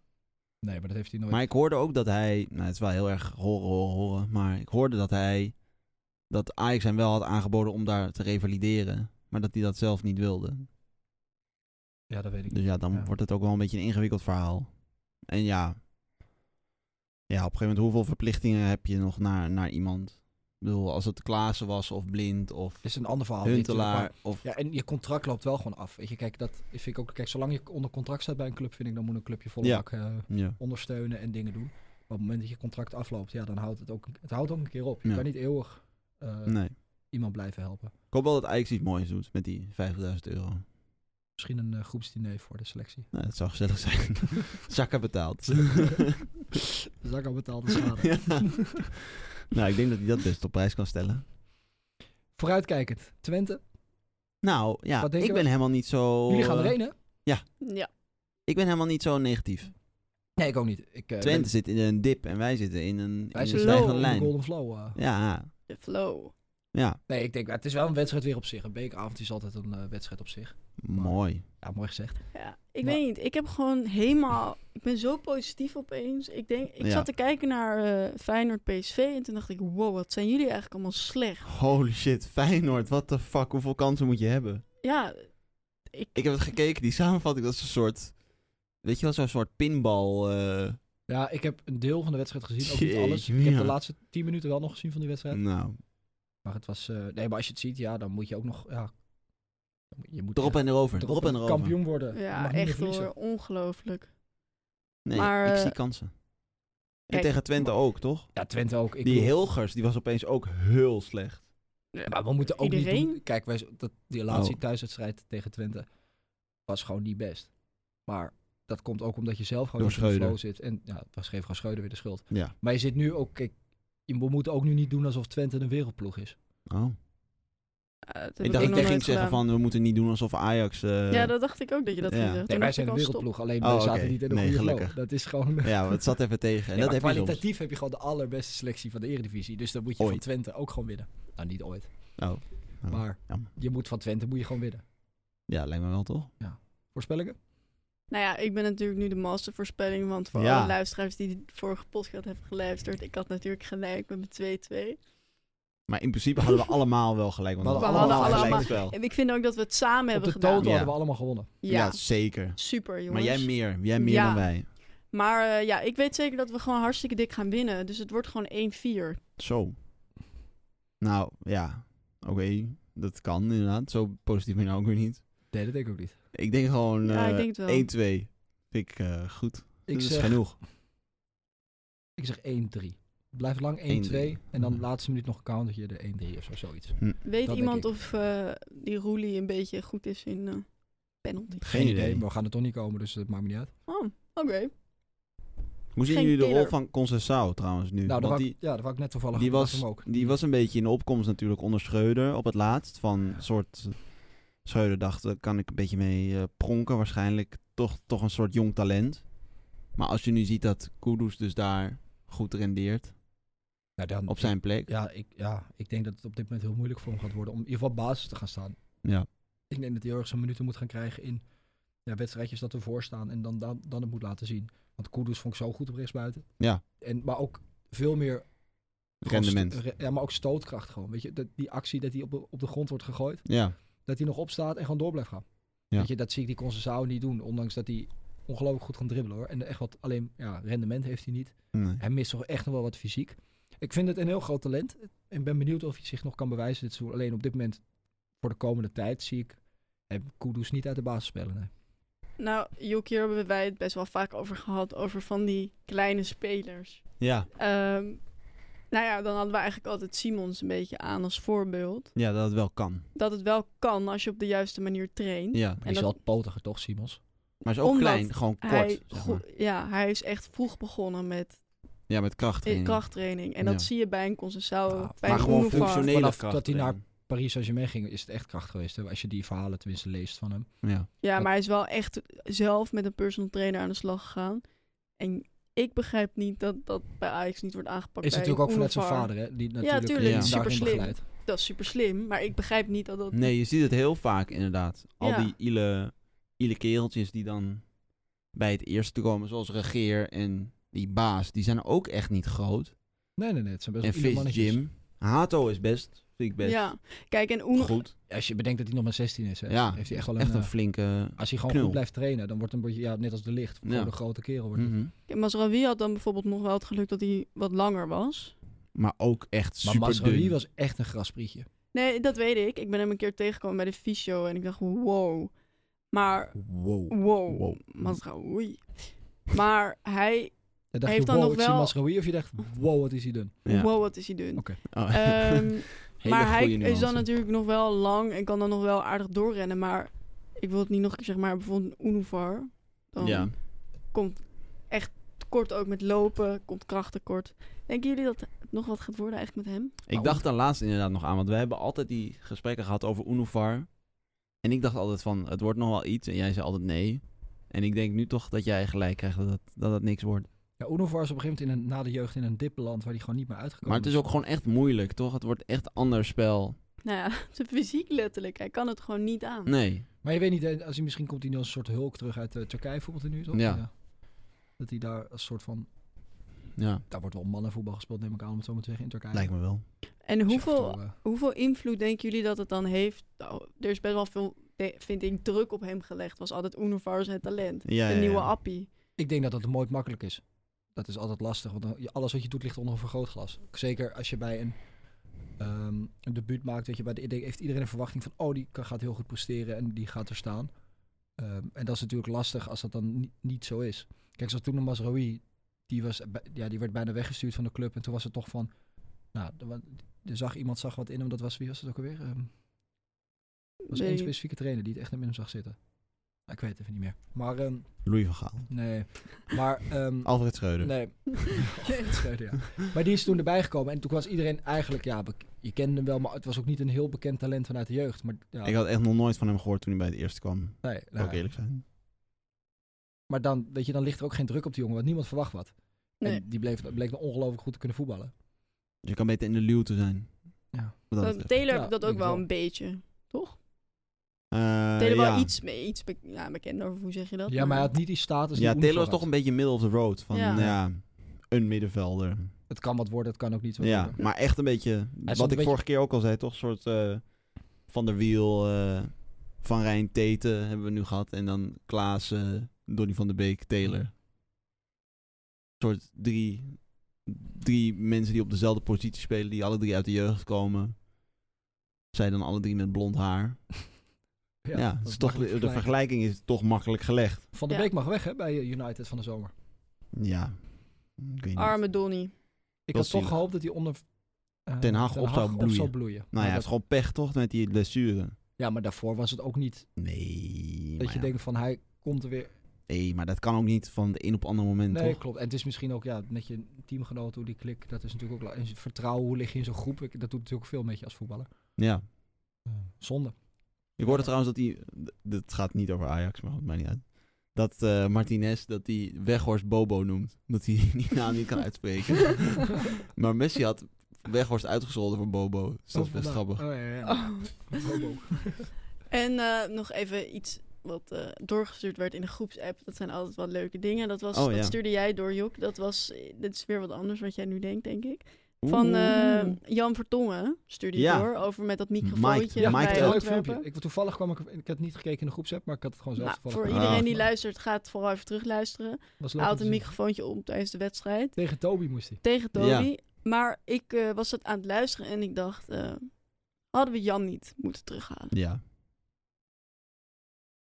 Nee, maar dat heeft hij nooit. Maar ik hoorde ook dat hij. Nou, het is wel heel erg horen, horen, horen. Maar ik hoorde dat hij. Dat Ajax hem wel had aangeboden om daar te revalideren. Maar dat hij dat zelf niet wilde. Ja, dat weet ik niet. Dus ja, dan Ja. wordt het ook wel een beetje een ingewikkeld verhaal. En ja, ja, op een gegeven moment, hoeveel verplichtingen heb je nog naar, naar iemand? Ik bedoel, als het Klaassen was of Blind of is een ander verhaal. weet je wel, maar- Huntelaar of... Ja, en je contract loopt wel gewoon af. Weet je, kijk, dat vind ik ook. Kijk, zolang je onder contract staat bij een club, vind ik dan moet een club je volle Ja. bak, eh, Ja. ondersteunen en dingen doen. Maar op het moment dat je contract afloopt, ja, dan houdt het ook, het houdt ook een keer op. Je Ja. kan niet eeuwig eh, Nee. iemand blijven helpen. Ik hoop wel dat Ajax iets moois doet met die 5000 euro. Misschien een eh, groepsdiner voor de [laughs] selectie. Nou, dat zou gezellig zijn. [laughs] Zakken betaald. Zak al betaalde schade. [laughs] Ja. Nou, ik denk dat hij dat best op prijs kan stellen. Vooruitkijkend, Twente. Oh. Nou, ja, Wat ik denken ben we? helemaal niet zo... Jullie gaan eh, erheen, hè? Ja, Ik ben helemaal niet zo negatief. Nee, ik ook niet. Ik, eh, Twente zit in een dip en wij zitten in een, in wij een zitten low stijgende in de lijn. Golden Flow. eh. Ja, de flow. ja, Nee, ik denk, het is wel een wedstrijd weer op zich. Een beekavond is altijd een eh, wedstrijd op zich. mooi. Ja, mooi gezegd. Ja, ik Maar- weet niet. Ik heb gewoon helemaal... Ik ben zo positief opeens. Ik, denk, ik Ja. zat te kijken naar eh, Feyenoord PSV en toen dacht ik... Wow, wat zijn jullie eigenlijk allemaal slecht. Holy shit, Feyenoord, what the fuck, hoeveel kansen moet je hebben? Ja, ik, Ik heb het gekeken, die samenvatting, dat is een soort... Weet je wel, zo'n soort pinbal... eh, Ja, ik heb een deel van de wedstrijd gezien, ook niet Jeetje, alles. Ik heb ja. de laatste tien minuten wel nog gezien van die wedstrijd. nou, Maar het was... eh, nee, maar als je het ziet, ja, dan moet je ook nog... Ja, dan moet- je moet erop echt en erover, erop erop en erover. kampioen worden. Je mag ja niet meer echt verliezen. hoor. Ongelooflijk. Nee, Maar, ik eh, zie kansen. En kijk, tegen Twente ook, toch? Ja, Twente ook. Ik die bedoel- Hilgers, die was opeens ook heel slecht. Maar we moeten ook Iedereen? niet doen... Kijk, wij, dat, die laatste Oh. thuiswedstrijd tegen Twente was gewoon niet best. Maar dat komt ook omdat je zelf gewoon Door niet in de Schreuder. flow zit. En ja, was geef gewoon Schreuder weer de schuld. Ja. Maar je zit nu ook... Kijk, je moet ook nu niet doen alsof Twente een wereldploeg is. Oh. Ja, dat heb nog Ik dacht, dat jij nooit ging zeggen gedaan. van, we moeten niet doen alsof Ajax... eh, ja, dat dacht ik ook dat je dat ja. ging Nee, zeggen. Toen wij dacht zijn ik een al, stop. wereldploeg, alleen Oh, wij oké. zaten niet in een Nee, goede flow. gelukkig. Dat is gewoon... ja, maar het zat even tegen. [laughs] En Nee, dat heb maar je soms. kwalitatief heb je gewoon de allerbeste selectie van de Eredivisie. Dus dan moet je van Ooit. Twente ook gewoon winnen. Nou, niet ooit. Oh. Oh, Maar jammer. je moet van Twente moet je gewoon winnen. Ja, lijkt me wel, toch? Voorspellingen? Nou ja, ik ben natuurlijk nu de mastervoorspelling, want voor Ja. alle luisteraars die de vorige podcast hebben geluisterd, ik had natuurlijk gelijk met mijn 2-2. Maar in principe hadden we allemaal wel gelijk. Want We we hadden allemaal gelijk gelijk. spel. En ik vind ook dat we het samen Op hebben de gedaan. total Ja. hadden we allemaal gewonnen. Ja, Ja, zeker. super jongens. Maar jij meer. Jij meer Ja. dan wij. Maar eh, ja, ik weet zeker dat we gewoon hartstikke dik gaan winnen. Dus het wordt gewoon 1-4. Zo. Nou, ja. Oké. Dat kan inderdaad. Zo positief ben ik nou ook weer niet. Nee, dat denk ik ook niet. Ik denk gewoon Ja, eh, ik denk het wel. 1-2. Vind ik eh, goed. Ik dat is zeg, genoeg. ik zeg 1-3. Blijf lang 1-2. 1-3. En dan Ja. laatste minuut nog een countertje de 1-3 of zo, zoiets. Hm. Weet denk iemand ik. of eh, die Roelie een beetje goed is in eh, penalty? Geen idee. Maar we gaan er toch niet komen, dus dat maakt me niet uit. Oh, oké. Hoe zien Geen jullie de rol killer. van Concessao trouwens nu? Nou, dat Want wou, die, ik- ja, dat wou ik net toevallig. Die ik dacht was, hem ook. die was een beetje in de opkomst natuurlijk onder Schreuder op het laatst. Van een soort Schreuder dacht, daar kan ik een beetje mee eh, pronken. Waarschijnlijk toch, toch een soort jong talent. Maar als je nu ziet dat Kudus dus daar goed rendeert Nou, dan- op zijn plek. Ja ik, ja, ik denk dat het op dit moment heel moeilijk voor hem gaat worden om in ieder geval basis te gaan staan. Ja. Ik denk dat hij heel erg zijn minuten moet gaan krijgen in ja, wedstrijdjes dat ervoor staan en dan, dan, dan het moet laten zien. Want Kudus vond ik zo goed op rechtsbuiten. Ja. En, maar ook veel meer... gewoon Rendement. st- re- ja, maar ook stootkracht gewoon. Weet je, dat, die actie dat hij op, de- op de grond wordt gegooid, Ja, dat hij nog opstaat en gewoon door blijft gaan. Ja. Weet je, dat zie ik die Concessao niet doen, ondanks dat hij ongelooflijk goed kan dribbelen hoor. En echt wat, alleen ja, rendement heeft hij niet. nee. Hij mist toch echt nog wel wat fysiek. Ik vind het een heel groot talent. Ik ben benieuwd of hij zich nog kan bewijzen dit seizoen. Alleen op dit moment, voor de komende tijd, zie ik hem Kudus niet uit de basis spelen. nee. Nou, Joek, hier hebben wij het best wel vaak over gehad. Over van die kleine spelers. ja. Ehm, nou ja, dan hadden we eigenlijk altijd Simons een beetje aan als voorbeeld. ja, dat het wel kan. Dat het wel kan als je op de juiste manier traint. Ja. Maar die is dat- wel potiger toch, Simons? Maar hij is ook Omdat klein, gewoon kort. hij, zeg goe- maar. ja, hij is echt vroeg begonnen met Ja, met kracht. erin. krachttraining. En Ja. dat zie je bij een Concessao, Ja, bij maar een gewoon Unifar. functionele Vanaf kracht. dat hij naar- erin. Paris Saint-Germain ging, is het echt kracht geweest. Hè? Als je die verhalen tenminste leest van hem. Ja. Ja, maar hij is wel echt zelf met een personal trainer aan de slag gegaan. En ik begrijp niet dat dat bij Ajax niet wordt aangepakt. Is bij natuurlijk ook vanuit zijn Unifar. vader, hè? Die natuurlijk tuurlijk, hem Ja. daarin superslim. begeleidt. Dat is super slim, maar ik begrijp niet dat dat... Nee, je ziet het heel vaak inderdaad. Al Ja. die ile, ile kereltjes die dan bij het eerste komen, zoals Regeer en die baas, die zijn ook echt niet groot. Nee, nee, nee. Het zijn best en wel ieder Vis mannetjes. Jim. Hato is best Vind ik best Ja, kijk, en Oeno... goed. Als je bedenkt dat hij nog maar 16 is, hè, Ja, heeft hij echt wel een... Echt een eh, flinke... als hij gewoon knul. goed blijft trainen, dan wordt hij een beetje, ja, net als de licht, Ja. gewoon een grote kerel wordt. hij. Mhm. Kijk, Masraoui had dan bijvoorbeeld nog wel het geluk dat hij wat langer was. Maar ook echt Maar super Masraoui dun. was echt een grasprietje. Nee, dat weet ik. Ik ben hem een keer tegengekomen bij de fysio en ik dacht, wow. Maar, Wow. wow, Wow. Masraoui. Maar hij, En dacht Hij heeft je, dan wow, nog ik zie wel- Masraoui, of je dacht, wow, wat is hij dun. Ja. wow, wat is hij [laughs] dun. Oké. Oh. Ehm, [laughs] Hele maar hij goede is dan nuance. natuurlijk nog wel lang en kan dan nog wel aardig doorrennen. Maar ik wil het niet nog een keer zeggen, maar bijvoorbeeld een Unuvar. Dan Ja. komt echt tekort ook met lopen, komt kracht tekort. Denken jullie dat het nog wat gaat worden eigenlijk met hem? Ik dacht daar laatst inderdaad nog aan, want we hebben altijd die gesprekken gehad over Unuvar. En ik dacht altijd van, het wordt nog wel iets. En jij zei altijd nee. En ik denk nu toch dat jij gelijk krijgt dat het, dat het niks wordt. Ja, Unovar is op een gegeven moment in een, na de jeugd in een dippeland waar hij gewoon niet meer uitgekomen Maar het is ook gewoon echt moeilijk, toch? Het wordt echt ander spel. Nou ja, [laughs] zijn fysiek letterlijk. Hij kan het gewoon niet aan. Nee. Maar je weet niet, hè, als hij misschien komt hij nu als een soort hulk terug uit eh, Turkije bijvoorbeeld nu, toch? Ja. Dat hij daar als soort van, Ja, daar wordt wel mannenvoetbal gespeeld, neem ik aan om het zo maar te zeggen, in Turkije. lijkt me wel. En Dus ja, af en hoeveel, toe, eh, hoeveel invloed denken jullie dat het dan heeft? Nou, er is best wel veel, de- vind ik, druk op hem gelegd. Was altijd Univars het talent. Ja, de ja, nieuwe ja. appie. ik denk dat dat nooit makkelijk is. Dat is altijd lastig, want dan- je- alles wat je doet ligt onder een vergrootglas. Zeker als je bij een, ehm een debuut maakt, weet je, bij de, de- heeft iedereen een verwachting van, oh, die kan, gaat heel goed presteren en die gaat er staan. Ehm, en dat is natuurlijk lastig als dat dan ni- niet zo is. Kijk, zoals toen de Masraoui, die, was, bij- ja, die werd bijna weggestuurd van de club. En toen was het toch van, nou, er, wa- er zag iemand zag wat in hem. Dat was, wie was het ook alweer? Ehm, er was Weet één ik- specifieke trainer die het echt in hem zag zitten. Nou, Ik weet het even niet meer. Maar, ehm, Louis van Gaal. nee. Maar, ehm, Alfred [laughs] Schreuder. Nee. Alfred Schreuder, ja. Maar die is toen erbij gekomen. En toen was iedereen eigenlijk... Ja, bek- je kende hem wel, maar het was ook niet een heel bekend talent vanuit de jeugd. Maar, ja, Ik had echt nog nooit van hem gehoord toen hij bij het eerste kwam. nee, Wil nou, ik eerlijk zijn. Maar dan, weet je, dan ligt er ook geen druk op die jongen, want niemand verwacht wat. Nee. En die bleef, bleek dan ongelooflijk goed te kunnen voetballen. Dus je kan beter in de luw te zijn. Ja. Wat dat Bij betreft. Taylor Ja, heb ik dat denk ook ik wel wel. een beetje, toch? Eh, Taylor wel ja. iets, mee, iets be ja, bekend over, hoe zeg je dat? ja, maar hij had niet die status Ja, die Taylor Unifar is toch had. een beetje middle of the road. Van, Ja. ja. een middenvelder. Het kan wat worden, het kan ook niet wat Ja, worden. maar echt een beetje... een Wat ik beetje- vorige keer ook al zei, toch? Een soort eh, Van der Wiel, eh, Van Rijn, Teten hebben we nu gehad. En dan Klaas, eh Donny van der Beek, Taylor. Een soort drie, drie mensen die op dezelfde positie spelen. Die alle drie uit de jeugd komen. Zij dan alle drie met blond haar. Ja, dat het is is toch, makkelijk de vergelijken. vergelijking is toch makkelijk gelegd. Van der Ja. Beek mag weg, hè, bij eh, United van de zomer. Ja. Ik weet niet. Arme Donny. Ik had Dat toch zielig. gehoopt dat hij onder... eh, Ten Hag op zou bloeien. Nou ja, Maar het dat- is gewoon pech toch met die blessure. ja, maar daarvoor was het ook niet Nee, dat maar, je ja. denkt van hij komt er weer nee, maar dat kan ook niet van de een op het andere moment, Nee, toch? klopt. En het is misschien ook ja, met je teamgenoot, hoe die klik, dat is natuurlijk ook... la- En je vertrouwen, hoe lig je in zo'n groep, ik, dat doet natuurlijk veel met je als voetballer. Ja. Zonde. Ik hoorde trouwens dat hij... d- Dit gaat niet over Ajax, maar goed, maakt niet uit. Dat eh, Martinez, dat hij Weghorst Bobo noemt. Omdat hij [laughs] die naam niet kan [laughs] uitspreken. maar Messi had Weghorst uitgescholden voor Bobo. Dus dat is best grappig. Oh, ja, ja, ja. Oh. Bobo. En eh, nog even iets wat eh, doorgestuurd werd in de groepsapp. Dat zijn altijd wel leuke dingen. Dat, was, Oh, ja. dat stuurde jij door, Jok. Dat was, eh, dit is weer wat anders wat jij nu denkt, denk ik. Van eh, Jan Vertongen stuurde je Ja. door over met dat Mike- microfoontje Ja, Mike Mike, eh, bij Tell. leuk Antwerpen. filmpje. Ik, toevallig kwam ik... Ik had niet gekeken in de groepsapp, maar ik had het gewoon zelf Nou, toevallig voor gezien. iedereen Ah, die fijn. luistert, ga het vooral even terugluisteren. Was leuk om Hij had te een zien. microfoontje om tijdens de wedstrijd. Tegen Toby moest hij. tegen Toby. Ja. Maar ik eh, was het aan het luisteren en ik dacht, eh, hadden we Jan niet moeten terughalen? Ja,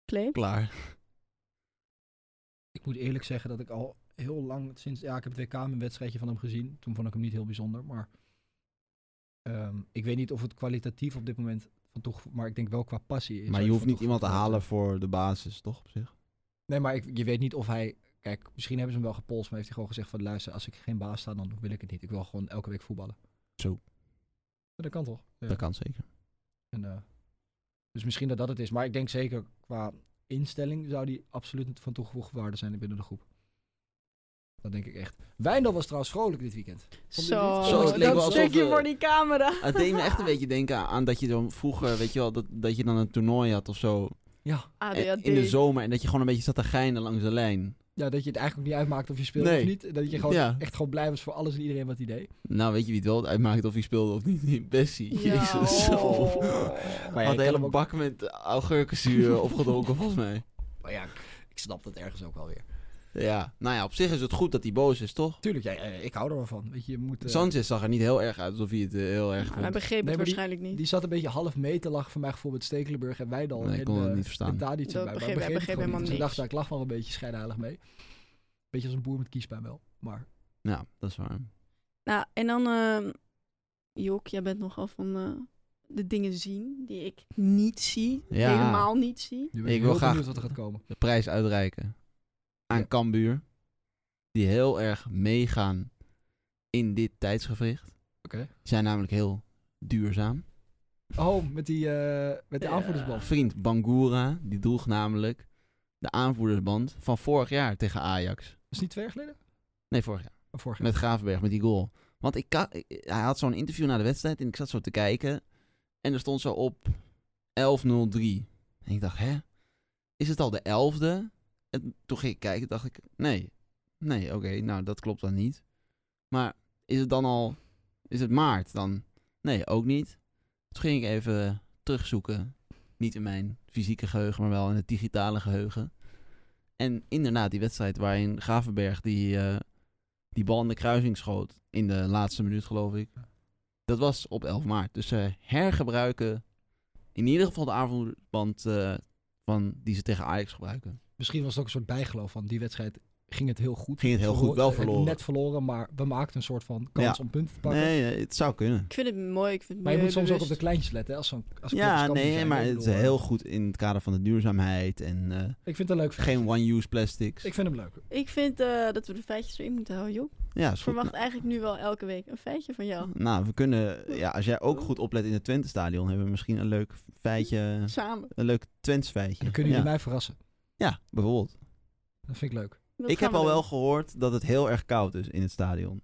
Claim? klaar. Ik moet eerlijk zeggen dat ik al heel lang sinds... Ja, ik heb het WK een wedstrijdje van hem gezien. Toen vond ik hem niet heel bijzonder, maar... ehm, ik weet niet of het kwalitatief op dit moment van toegevoegd... Maar ik denk wel qua passie. is Maar er je hoeft van niet iemand te toegevoegd halen voor de basis, toch? Op zich. Nee, maar ik, je weet niet of hij... Kijk, misschien hebben ze hem wel gepolst, maar heeft hij gewoon gezegd van... luister, als ik geen baas sta, dan wil ik het niet. Ik wil gewoon elke week voetballen. Zo. Ja, dat kan toch? Ja. Dat kan zeker. En, eh, dus misschien dat dat het is. Maar ik denk zeker qua instelling zou die absoluut niet van toegevoegde waarde zijn binnen de groep. Dat denk ik echt. Wijndal was trouwens vrolijk dit weekend. Zo, Zo, het leek wel dat alsof, stukje eh, voor die camera. Het deed me echt een beetje denken aan dat je dan vroeger, weet je wel, dat, dat je dan een toernooi had of zo. Ja. ADHD. Eh, En- in de zomer en dat je gewoon een beetje zat te geinen langs de lijn. ja, dat je het eigenlijk ook niet uitmaakt of je speelt Nee. of niet. Dat je gewoon Ja. echt gewoon blij was voor alles en iedereen wat hij deed. Nou, weet je wie het wel uitmaakt of hij speelde of niet? [laughs] Bessie. Ja, Jezus. [laughs] oh. Maar ja, Had ik een kan hem hele ook- bak met [laughs] augurkenzuur opgedronken, volgens mij. maar ja, ik snap dat ergens ook wel weer. Ja. Nou ja, op zich is het goed dat hij boos is, toch? Tuurlijk, ja, eh, ik hou er wel van. Weet je, je moet, eh, Sanchez zag er niet heel erg uit alsof hij het eh, heel erg Maar hij vond. begreep Nee, het maar waarschijnlijk niet. die zat een beetje half mee te lachen voor mij gevoel met Stekelenburg en Wijdal. Nee, ik en, kon het eh, niet verstaan. En daar iets bij. Dat Maar begreep- ik hij begreep het begreep gewoon niet. Dus ik helemaal niks. dacht, ja, ik lach wel een beetje schijnheilig mee. Beetje als een boer met kiespijn wel. Maar Ja, dat is waar. Nou, en dan, ehm Jok, jij bent nogal van eh, de dingen zien die ik niet zie. Ja. Helemaal niet zie. nu Ik ben ik wil heel graag- benieuwd wat er gaat komen. De prijs uitreiken aan Cambuur. Die heel erg meegaan in dit tijdsgevricht. Oké. Die zijn namelijk heel duurzaam. Oh, met die, eh met die Ja. aanvoerdersbal. Vriend Bangura, die droeg namelijk de aanvoerdersband van vorig jaar tegen Ajax. Is niet twee jaar geleden? Nee, vorig jaar. Of vorig jaar? Met Gravenberg, met die goal. Want ik ka- ik- hij had zo'n interview na de wedstrijd en ik zat zo te kijken. En er stond zo op 11.03. En ik dacht, hè? Is het al de 11e? En toen ging ik kijken, dacht ik, nee. Nee, oké, nou dat klopt dan niet. Maar is het dan al, is het maart dan? Nee, ook niet. Toen ging ik even terugzoeken. Niet in mijn fysieke geheugen, maar wel in het digitale geheugen. En inderdaad, die wedstrijd waarin Gravenberg die, eh, die bal in de kruising schoot. In de laatste minuut, geloof ik. Dat was op 11 maart. Dus ze hergebruiken in ieder geval de avondband eh, van, die ze tegen Ajax gebruiken. Misschien was het ook een soort bijgeloof van die wedstrijd ging het heel goed. Ging het heel goed, wel eh, verloren. Net verloren, maar we maakten een soort van kans Ja. om punten te pakken. Nee, eh, het zou kunnen. Ik vind het mooi. Ik vind het Maar je moet soms ook op milieubewust. de kleintjes letten. hè, Als zo'n als clubs Ja, kampioen nee, zijn. maar Ik het is bedoel, eh, heel goed in het kader van de duurzaamheid en eh, Ik vind het een leuk. verhaal. geen one-use plastics. Ik vind hem leuk. Ik vind eh, dat we de feitjes erin moeten houden, Jok. ja, is Ik goed. verwacht eigenlijk nu wel elke week een feitje van jou. Nou, we kunnen, ja, als jij ook goed oplet in het Twente-stadion, hebben we misschien een leuk feitje, Samen. een leuk Twents feitje. Dan kunnen ja. jullie mij verrassen. ja, bijvoorbeeld. Dat vind ik leuk. Dat ik gaan heb we al wel doen. gehoord dat het heel erg koud is in het stadion.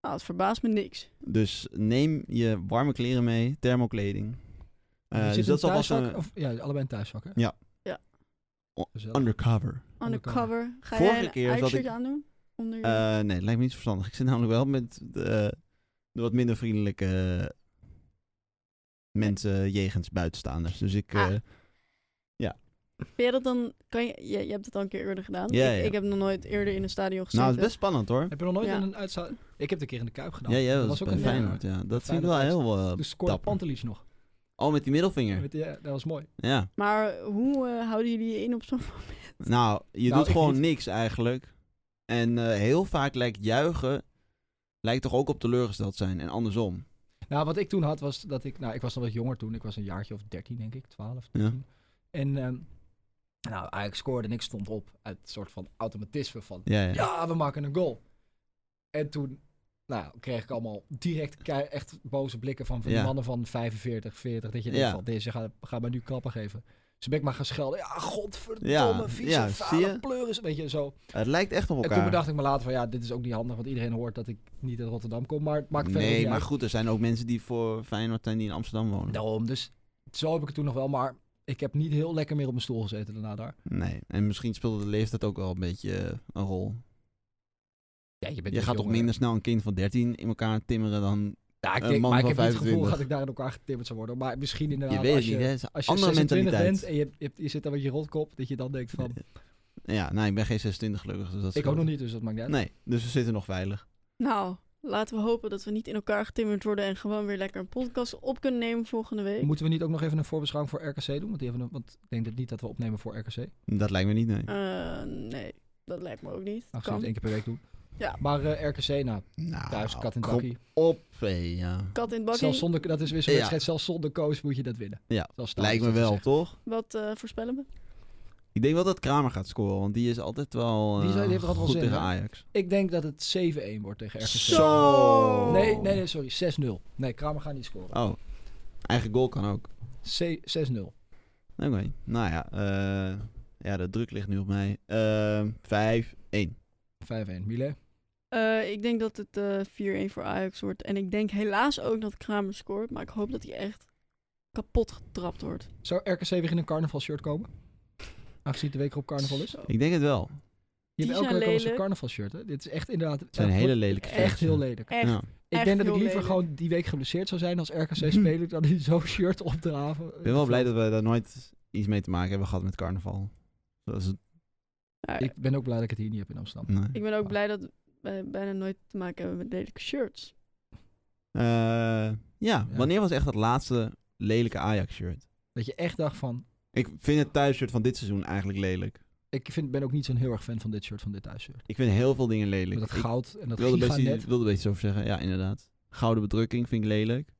Nou, het verbaast me niks. Dus neem je warme kleren mee, thermokleding. Eh, Je zit dus in dat zal vast thuiszak een of- ja, allebei een thuiszak, hè? Ja. Ja. O- Gezellig. undercover. Undercover. Ga Vorige jij een keer zat Ajax-shirt ik- aandoen? Onder je... Eh, nee, lijkt me niet zo verstandig. Ik zit namelijk wel met de, de wat minder vriendelijke mensen jegens buitenstaanders. Dus ik... Ah. eh, Vind jij dat dan... Kan je... Je, je hebt het al een keer eerder gedaan. Ja, ik, ja. ik heb nog nooit eerder in een stadion gezeten. nou, het is best spannend hoor. Heb je nog nooit Ja. in een uitza Ik heb het een keer in de Kuip gedaan. ja, ja, dat dat was was ook bij een eh, Feyenoord. Ja. Dat vind ik wel Feyenoord heel... eh, Dus scoorde dapper. Pantelic nog. oh, met die middelvinger. Met die- ja, dat was mooi. Ja. Maar hoe eh, houden jullie je in op zo'n... [laughs] Nou, je Nou, doet ik gewoon niet. niks eigenlijk. En eh, heel vaak lijkt juichen... lijkt toch ook op teleurgesteld zijn. En andersom. Nou, wat ik toen had was dat ik... Nou, ik was nog wat jonger toen. Ik was een jaartje of 13, denk ik. 12, Ja. 13. En ehm, nou, Ajax scoorde en ik stond op uit een soort van automatisme van... Ja, ja. Ja, we maken een goal. En toen nou, kreeg ik allemaal direct kei- echt boze blikken van, van die Ja. mannen van 45, 40. Dat je Ja. denkt van, deze gaat, gaat mij nu klappen geven. Dus ben ik maar gaan schelden. Ja, godverdomme, Ja, vieze, ja, zie je? vuile pleuris. Weet je, zo. Het lijkt echt op elkaar. En toen bedacht ik me later van, ja, dit is ook niet handig. Want iedereen hoort dat ik niet uit Rotterdam kom. Maar het maakt verder nee, niet maar uit. goed, er zijn ook mensen die voor Feyenoord zijn die in Amsterdam wonen. Daarom, dus zo heb ik het toen nog wel. Maar ik heb niet heel lekker meer op mijn stoel gezeten daarna daar. Nee, en misschien speelde de leeftijd ook wel een beetje eh, een rol. Ja, je bent Je nog gaat toch jonger. minder snel een kind van 13 in elkaar timmeren dan... Ja, ik een denk, man maar ik van heb niet het gevoel 25. dat ik daar in elkaar getimmerd zou worden. Maar misschien inderdaad je weet als het je... niet, hè? Het is een Als je andere 26 bent mentaliteit. en je, je, je zit dan met je rotkop, dat je dan denkt van, Ja, nou, ik ben geen 26 gelukkig, dus dat eh, ik ook scheelt. nog niet, dus dat maakt niet uit. Nee, dus we zitten nog veilig. Nou, laten we hopen dat we niet in elkaar getimmerd worden... en gewoon weer lekker een podcast op kunnen nemen volgende week. Moeten we niet ook nog even een voorbeschouwing voor RKC doen? Want, die hebben een, want ik denk dat niet dat we opnemen voor RKC. Dat lijkt me niet, nee. Eh, nee, dat lijkt me ook niet. Aangezien we het kan. één keer per week doen. Ja. Maar eh, RKC, nou, Nou, thuis, kat in het kom bakkie. op, hé, ja. Kat in het bakkie. Zelfs zonder, dat is weer zo'n Ja. wedstrijd, zelfs zonder coach moet je dat winnen. Ja, Zelfs thuis Lijkt me is dat wel, gezegd. toch? Wat eh, voorspellen we? Ik denk wel dat Kramer gaat scoren, want die is altijd wel Die is- die eh, heeft altijd wel goed zin, tegen hè? Ajax. Ik denk dat het 7-1 wordt tegen RKC. Zo! Nee, nee, nee, sorry, 6-0. Nee, Kramer gaat niet scoren. Oh, eigen goal kan ook. C- 6-0. Oké, nou ja, eh, ja, de druk ligt nu op mij. Eh, 5-1. 5-1. Mile? Eh, ik denk dat het eh 4-1 voor Ajax wordt. En ik denk helaas ook dat Kramer scoort. Maar ik hoop dat hij echt kapot getrapt wordt. Zou RKC weer in een carnavalshirt komen? Aangezien de week erop carnaval is? Zo. Ik denk het wel. Die Je hebt elke zijn week al zo'n lelijk. carnavalshirt, hè? Dit is echt inderdaad... Het zijn hele lelijke Echt heel lelijk. Echt. Ja. ik echt denk dat ik heel liever lelijk. gewoon die week geblesseerd zou zijn als [laughs] RKC-speler dan in zo'n shirt op te draven. Ik ben wel blij dat we daar nooit iets mee te maken hebben gehad met carnaval. Dat is het- Ja, Ik ben ook blij dat ik het hier niet heb in Amsterdam. nee. Nou, ik ben ook blij dat wij bijna nooit te maken hebben met lelijke shirts. Eh, ja, Ja. wanneer was echt dat laatste lelijke Ajax-shirt? Dat je echt dacht van... Ik vind het thuisshirt van dit seizoen eigenlijk lelijk. Ik vind, ben ook niet zo'n heel erg fan van dit shirt, van dit thuisshirt. Ik vind heel veel dingen lelijk. Met dat Ik- goud en dat Ik wilde een giga beetje, net. wilde een beetje over zeggen, ja, inderdaad. Gouden bedrukking vind ik lelijk.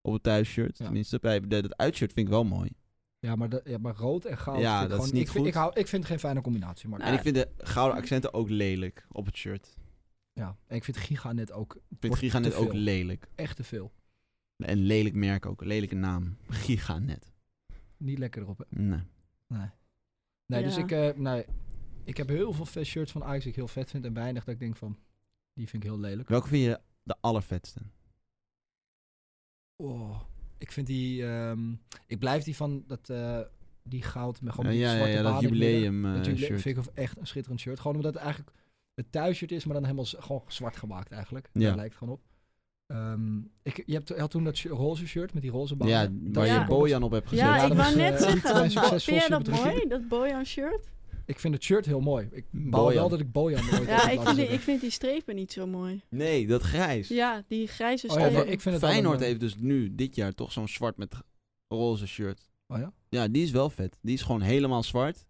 Op het thuisshirt, Ja. tenminste. Bij, de, dat uitshirt vind ik wel mooi. Ja maar, dat- ja, maar rood en goud. Ja, vind ik dat is gewoon- niet ik vind, goed. Ik, hou, ik vind het geen fijne combinatie. Maar Nou, En ik vind de gouden accenten ook lelijk op het shirt. ja, en ik vind giganet ook Ik vind Wordt Giganet te ook veel. lelijk. echt te veel. En lelijk merk ook. Lelijke naam. [laughs] Giganet. Niet lekker erop. hè? Nee. Nee, dus Ja. ik, eh, nee, ik heb heel veel vet shirts van Ajax die ik heel vet vind. En weinig dat ik denk van, die vind ik heel lelijk. Welke vind je de allervetste? Oh, ik vind die... ehm, ik blijf die van dat, eh, die goud met gewoon Ja, die ja, ja, zwarte dat baan in het midden. jubileum eh, Dat jubileum shirt. vind ik echt een schitterend shirt. Gewoon omdat het eigenlijk het thuisshirt is, maar dan helemaal z- gewoon zwart gemaakt eigenlijk. Ja. Daar lijkt het gewoon op. Ehm, ik, je hebt, je had toen dat shi- roze shirt met die roze banden. Ja, Dat- waar Ja. je Bojan op hebt gezet. Ja, Ja, ik dat wou was, net eh, zeggen. mijn succesvol Vind jij dat superdrukking. mooi, dat Bojan shirt? Ik vind het shirt heel mooi. Ik bouw Bojan. wel dat ik [laughs] Bojan nooit heb Oh Ja, laten ik vind, die, zitten. ik vind die strepen niet zo mooi. Nee, dat grijs. Ja, die grijze Oh ja, strepen. maar ik vind het Feyenoord altijd, heeft dus nu, dit jaar, toch zo'n zwart met roze shirt. Oh ja? Ja, die is wel vet. Die is gewoon helemaal zwart.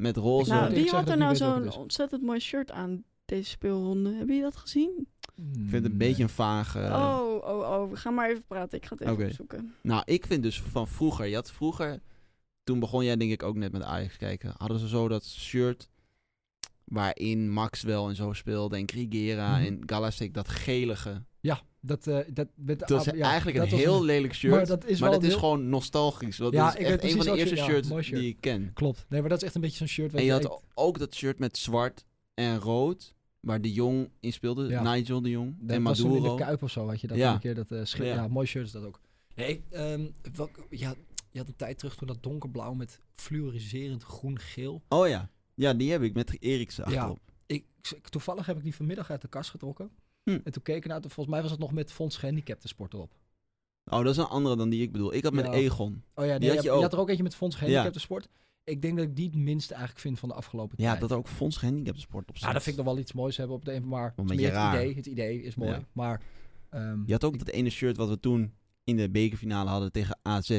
Met roze. Nou, nou, eerlijk wie zeggen had er dat nou ik niet weet welke zo'n het is. ontzettend mooi shirt aan deze speelronde? Hebben jullie dat gezien? Ik vind het Hmm. een beetje een vage... Oh, oh, oh. We gaan maar even praten. Ik ga het even Oké. opzoeken. Nou, ik vind dus van vroeger. Je had vroeger, toen begon jij denk ik ook net met Ajax kijken. Hadden ze zo dat shirt waarin Maxwell en zo speelde en Krigera Mhm. en Galasek dat gelige. Ja, dat... eh dat, met, Dat is ah, ja, eigenlijk een dat was heel lelijk shirt. Maar Maar dat dat is is, wel een heel- gewoon nostalgisch. Want Ja, dat ik is weet echt een precies van de wat je- eerste ja, shirts mooi shirt. die ik ken. Klopt. Nee, maar dat is echt een beetje zo'n shirt... wat En je denkt- had ook dat shirt met zwart en rood, waar de Jong in speelde, Ja. Nigel de Jong Dat en was toen in Maduro. de Kuip of zo had je dat Ja. een keer. Dat, eh schip, Ja. ja. mooi shirt is dat ook. Nee, ehm, welk- ja, je had een tijd terug toen dat donkerblauw met fluoriserend groen-geel. Oh ja. Ja, die heb ik met Eriksen Ja. achterop. Ik, ik- toevallig heb ik die vanmiddag uit de kast getrokken. Hm. En toen keek ik naar, volgens mij was het nog met Fonds Gehandicapten Sport erop. Oh, dat is een andere dan die ik bedoel. Ik had met Ja. Egon. Oh ja, nee, je, Die had je hebt- je ook. had er ook eentje met Fonds Gehandicapten Sport. Ik denk dat ik die het minste eigenlijk vind van de afgelopen Ja, tijd. dat er ook Fonds Gehandicaptensport op Nou, dat vind ik nog wel iets moois hebben op de een, maar het, Een is beetje meer raar. het idee. Het idee is mooi, Ja. maar... ehm, Je had ook ik- dat ene shirt wat we toen in de bekerfinale hadden tegen AZ.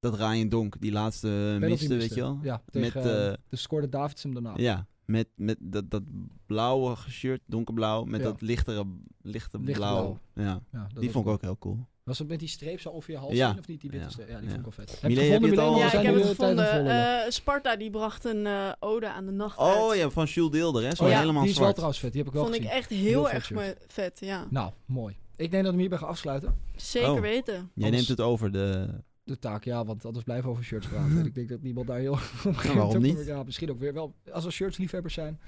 Dat Ryan Donk, die laatste eh, penalty miste, weet miste. je wel? Ja, tegen, met, eh, dus scoorde Davids hem daarna. Ja, met, met dat, dat blauwe shirt, donkerblauw, met Ja. dat lichtere, lichte blauw. Lichtblauw. Ja, Ja, dat die ook vond ik nog. ook heel cool. Was het met die streep zo over je hals Ja. heen of niet? Die witte Ja. streep. Ja, die Ja. vond ik wel vet. Milé, heb je het al- Milé? ja, Oh, We ik zijn heb nu het de hele tijd aan gevonden. het volgen. Eh, Sparta die bracht een eh, ode aan de nacht uit. Oh ja, van Jules Deelder, hè? Zo Oh ja, helemaal die is wel zwart. trouwens vet. Die heb ik wel Vond ik gezien. echt heel, Heel vet erg shirt. me- vet, ja. Nou, mooi. Ik denk dat we hem hierbij gaan afsluiten. Zeker Oh. weten. Jij Anders- neemt het over de... De taak, ja, want anders blijven we over shirts praten. En [laughs] ik denk dat niemand daar heel... Nou, [laughs] waarom niet? Ja, misschien ook weer wel. Als er shirtsliefhebbers zijn...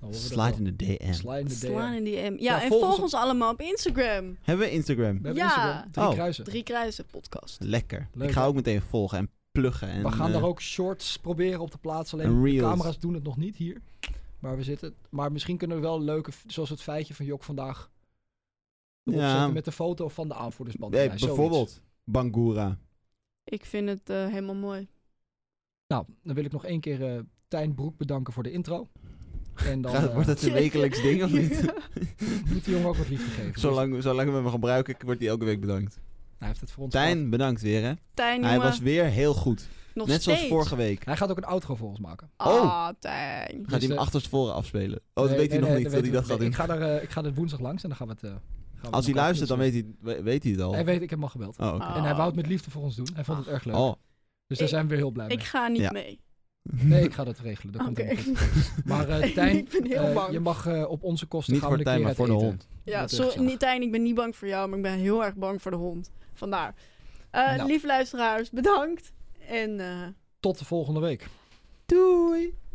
dan horen we dat Slide wel. in de DM. Slide in de Slaan DM. in die M. Ja, Ja, en volg ons volg op- ons allemaal op Instagram. Hebben we Instagram? We hebben Ja. Instagram. Drie Oh. kruisen. Drie Kruisen podcast. Lekker. Leuk, ik ga hè? ook meteen volgen en pluggen. En, we gaan eh, daar ook shorts proberen op te plaatsen. en Alleen de reels. camera's doen het nog niet hier. Waar we zitten. Maar misschien kunnen we wel leuke, f- zoals het feitje van Jok vandaag. erop eh, Ja. zetten Met de foto van de aanvoerdersband. Nee, bijvoorbeeld Bangura. Ik vind het eh, helemaal mooi. Nou, dan wil ik nog één keer eh Tijn Broek bedanken voor de intro. En [laughs] dan Gaat- eh, wordt dat een wekelijks ding of [laughs] niet? moet die jongen ook wat liefde geven. Dus Zolang, zolang we hem gebruiken, wordt hij elke week bedankt. hij heeft het voor ons gedaan. Tijn, bedankt weer hè. Tijn, Hij jongen, was weer heel goed. nog Net steeds. zoals vorige week. Hij gaat ook een outro voor ons maken. Ah, Oh. Tijn. Gaat hij hem eh, achterstevoren afspelen? Oh, dat Nee, weet nee, hij nog nee, niet, dat hij weten dat we- gaat nee, doen. Ik ga, daar, eh, ik ga er woensdag langs en dan gaan we het... eh, gaan we Als elkaar hij luistert, dan knutselen. weet hij, we- weet hij het al. Hij weet, ik heb hem al gebeld. Oh, oké. Ah. En hij wou het met liefde voor ons doen. Hij vond het erg leuk. Oh. Dus daar Ik- zijn we weer heel blij mee. Ik ga niet Ja. mee. Nee, ik ga dat regelen. Dat komt Oké. helemaal [laughs] goed. Maar eh, Tijn, ik ben heel eh, bang. je mag eh, op onze kosten Niet gaan voor we een Tijn, keer maar uit voor de eten. hond. Ja, Dat is sorry, gezellig. niet, Tijn, ik ben niet bang voor jou, maar ik ben heel erg bang voor de hond. Vandaar. Eh Nou. Lief luisteraars, bedankt. En eh, Tot de volgende week. doei.